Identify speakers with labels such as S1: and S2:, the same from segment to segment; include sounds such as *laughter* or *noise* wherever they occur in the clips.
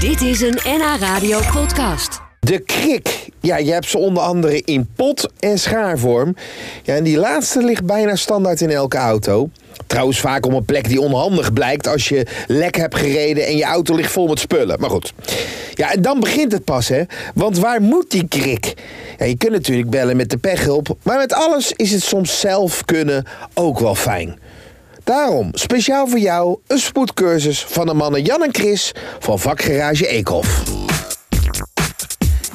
S1: Dit is een NH Radio podcast.
S2: De krik. Ja, je hebt ze onder andere in pot en schaarvorm. Ja, en die laatste ligt bijna standaard in elke auto. Trouwens, vaak om een plek die onhandig blijkt als je lek hebt gereden en je auto ligt vol met spullen. Maar goed. Ja, en dan begint het pas, hè? Want waar moet die krik? Ja, je kunt natuurlijk bellen met de pechhulp, maar met alles is het soms zelf kunnen ook wel fijn. Daarom, speciaal voor jou, een spoedcursus van de mannen Jan en Chris van vakgarage Eekhof.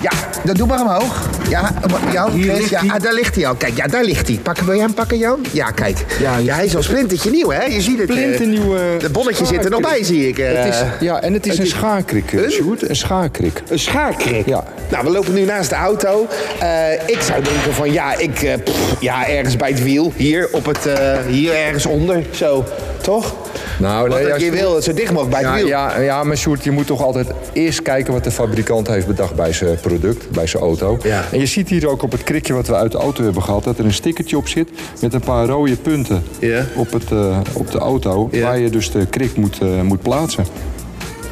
S2: Ja, dat doe maar omhoog. Ja, om- Jan,
S3: Hier
S2: Chris,
S3: ligt
S2: ja,
S3: hij.
S2: ah, daar ligt hij al. Kijk, ja, daar ligt hij. Pakken, wil jij hem pakken, Jan? Ja, kijk. Ja,
S3: Ja, ja.
S2: hij is al splintertje nieuw, hè? Je ziet het. eh,
S3: Splinternieuw, eh,
S2: De bonnetje zit er nog bij,
S3: schaarkrik.
S2: zie ik. eh.
S3: Het is, ja, en het is een schaarkrik, eh, Sjoerd. Een schaarkrik.
S2: Een schaarkrik.
S3: Ja.
S2: Nou, we lopen nu naast de auto. Eh, ik zou denken van ja, ik, eh, pff, ja, ergens bij het wiel. Hier, op het, eh, hier ergens onder. Zo, toch?
S3: Nou,
S2: Wat
S3: nee,
S2: dat
S3: ja,
S2: je wil, dat zo dicht mogelijk bij het
S3: Ja,
S2: wiel.
S3: ja, ja, maar Sjoerd, je moet toch altijd eerst kijken wat de fabrikant heeft bedacht bij zijn product, bij zijn auto.
S2: Ja.
S3: En je ziet hier ook op het krikje wat we uit de auto hebben gehad, dat er een stickertje op zit met een paar rode punten
S2: Ja.
S3: op, het, eh, op de auto.
S2: Ja.
S3: Waar je dus de krik moet, eh, moet plaatsen.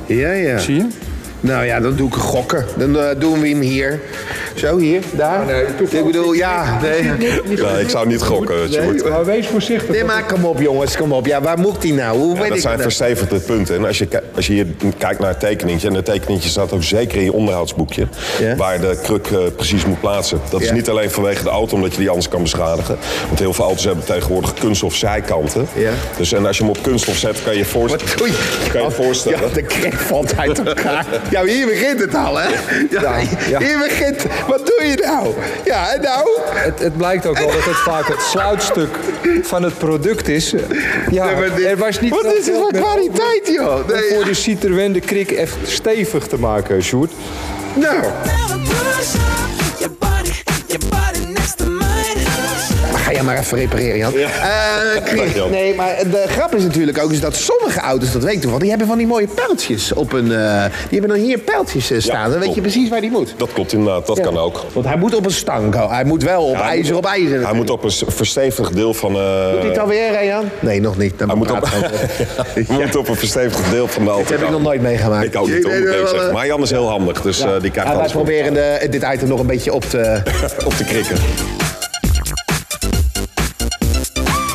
S2: Ja, ja.
S3: Zie je?
S2: Nou ja, dan doe ik een gokken. Dan eh, doen we hem hier. Zo, hier, daar. ik bedoel, ja, nee.
S4: Ja, ik zou niet gokken, Sjoerd.
S3: Maar Nou, wees voorzichtig.
S2: Nee, maar kom op jongens, kom op. Ja, waar moet die nou? Hoe weet
S4: dat
S2: ik
S4: zijn
S2: dat?
S4: verstevigde punten. En als je, ki- als je hier kijkt naar het tekeningetje... en dat tekeningetje staat ook zeker in je onderhoudsboekje...
S2: Ja.
S4: waar de kruk eh, precies moet plaatsen. Dat is
S2: Ja.
S4: niet alleen vanwege de auto, omdat je die anders kan beschadigen. Want heel veel auto's hebben tegenwoordig kunststof zijkanten.
S2: Ja.
S4: Dus en als je hem op kunststof zet, kan je je voorstellen...
S2: Wat doe je? Oh,
S4: Kan je je voorstellen.
S2: Ja, de krek valt uit elkaar. Ja, maar hier begint het al, hè? Ja,
S3: ja.
S2: Hier begint... Wat doe je nou? Ja, en nou?
S3: Het, het blijkt ook wel dat het vaak het sluitstuk van het product is. Ja,
S2: Nee, maar dit-
S3: er was niet
S2: Wat
S3: veel
S2: is het
S3: geld
S2: voor
S3: met-
S2: kwaliteit, joh?
S3: om
S2: Nee,
S3: voor de Citroën de krik echt stevig te maken, Sjoerd.
S2: Nou, ga jij maar even repareren, Jan. Eh, Chris,
S4: Jan.
S2: nee, maar de grap is natuurlijk ook is dat sommige auto's, dat weet ik toevallig, die hebben van die mooie pijltjes op een... eh, die hebben dan hier pijltjes eh, staan. dan weet je
S4: klopt.
S2: precies waar die moet.
S4: Dat klopt inderdaad, dat kan ook.
S2: Want hij moet op een stang komen. Hij moet wel op
S4: Ja, hij
S2: ijzer
S4: moet-
S2: op ijzer.
S4: Hij moet op een s- verstevigd deel van... eh,
S2: Doet hij het alweer, hè, Jan? Nee, nog niet. Dan
S4: Hij moet op,
S2: praten we over.
S4: *laughs* hij moet op een verstevigd deel van de auto.
S2: heb ik
S4: komen.
S2: nog nooit meegemaakt.
S4: Ik ook niet,
S2: Jullie
S4: hoor, moet ik
S2: weten
S4: eerlijk
S2: wel,
S4: zeggen.
S2: eh,
S4: Maar Jan is heel handig, dus eh, die krijgt
S2: Ja, Nou, wij
S4: alles voor
S2: proberen de, dit item nog een beetje op
S4: *laughs*
S2: te...
S4: op de krikken.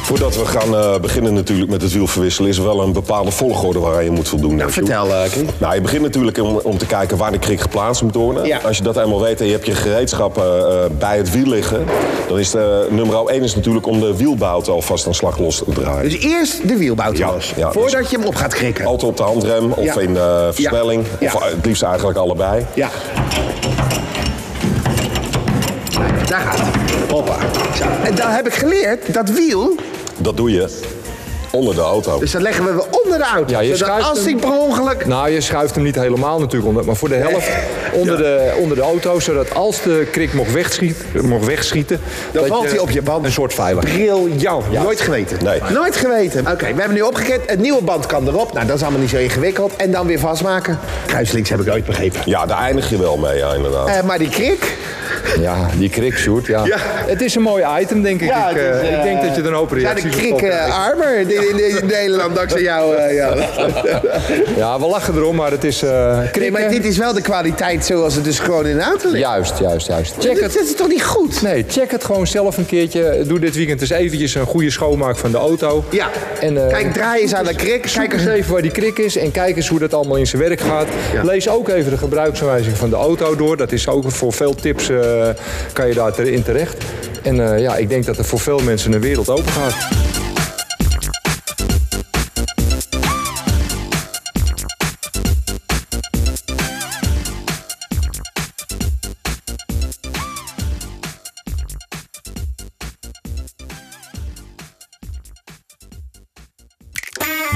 S4: Voordat we gaan eh, beginnen natuurlijk met het wiel verwisselen... is er wel een bepaalde volgorde waar je moet voldoen.
S2: Nou,
S4: Sjoerd.
S2: vertel, eh, Krik.
S4: Nou, je begint natuurlijk om, om te kijken waar de krik geplaatst moet worden.
S2: Ja.
S4: Als je dat eenmaal weet en je hebt je gereedschappen eh, bij het wiel liggen... dan is de, eh, nummer 1 is natuurlijk om de wielbout alvast aan slag los te draaien.
S2: Dus eerst de wielbout
S4: Ja,
S2: los.
S4: ja, dus- Oh,
S2: voordat je hem op gaat krikken.
S4: Altijd op de handrem of
S2: Ja.
S4: in eh, versnelling.
S2: Ja.
S4: Of eh, het liefst eigenlijk allebei.
S2: Ja. Daar gaat hij. Hoppa. Zo. En dan heb ik geleerd dat wiel,
S4: Dat doe je onder de auto.
S2: dus dat leggen we onder de auto.
S3: Ja, je
S2: zodat
S3: schuift
S2: als
S3: hem-
S2: hij per ongeluk...
S3: Nou, je schuift hem niet helemaal natuurlijk onder, maar voor de helft *laughs* onder, de, onder de auto, zodat als de krik mocht, wegschiet, mocht wegschieten,
S2: Dan
S3: dat
S2: valt hij op je band.
S3: Een soort veilig.
S2: Briljant.
S3: Ja.
S2: Nooit geweten.
S4: Nee.
S2: Nooit geweten. Oké, we hebben nu opgekend. Het nieuwe band kan erop. Nou, dat is allemaal niet zo ingewikkeld. En dan weer vastmaken. Kruislinks heb ik ooit begrepen.
S4: Ja, daar eindig je wel mee, ja, inderdaad.
S2: Eh, maar die krik...
S3: Ja, die krik, Sjoerd. Ja.
S2: Ja.
S3: Het is een mooi item, denk ik.
S2: Ja,
S3: ik,
S2: het is,
S3: eh,
S2: eh,
S3: ik denk dat je er een hoop
S2: Ja, de
S3: reacties op
S2: krik
S3: krijgt.
S2: eh, armer in, in- in Nederland dankzij jou. eh,
S3: *laughs*
S2: ja.
S3: Ja, we lachen erom, maar het is eh
S2: Nee,
S3: krikken.
S2: maar dit is wel de kwaliteit zoals het dus gewoon in de auto ligt.
S3: Juist, juist, juist. Check
S2: dat,
S3: het.
S2: dat is toch niet goed?
S3: Nee, check het gewoon zelf een keertje. Doe dit weekend eens eventjes een goede schoonmaak van de auto.
S2: Ja.
S3: En, eh,
S2: Kijk, draai eens aan de krik.
S3: Kijk
S2: Kijk
S3: eens
S2: eens
S3: even waar die krik is en kijk eens hoe dat allemaal in zijn werk gaat.
S2: Ja.
S3: Lees ook even de gebruiksaanwijzing van de auto door. Dat is ook voor veel tips eh, kan je daar in terecht. En eh, ja, ik denk dat er voor veel mensen een wereld open gaat.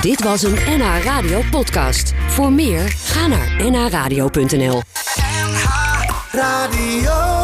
S1: Dit was een NH Radio podcast. Voor meer, ga naar nhradio.nl.
S5: NH Radio.